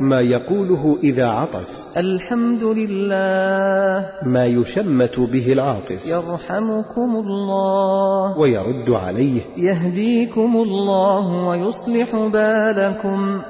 ما يقوله إذا عطس الحمد لله ما يشمت به العاطس يرحمكم الله ويرد عليه يهديكم الله ويصلح بالكم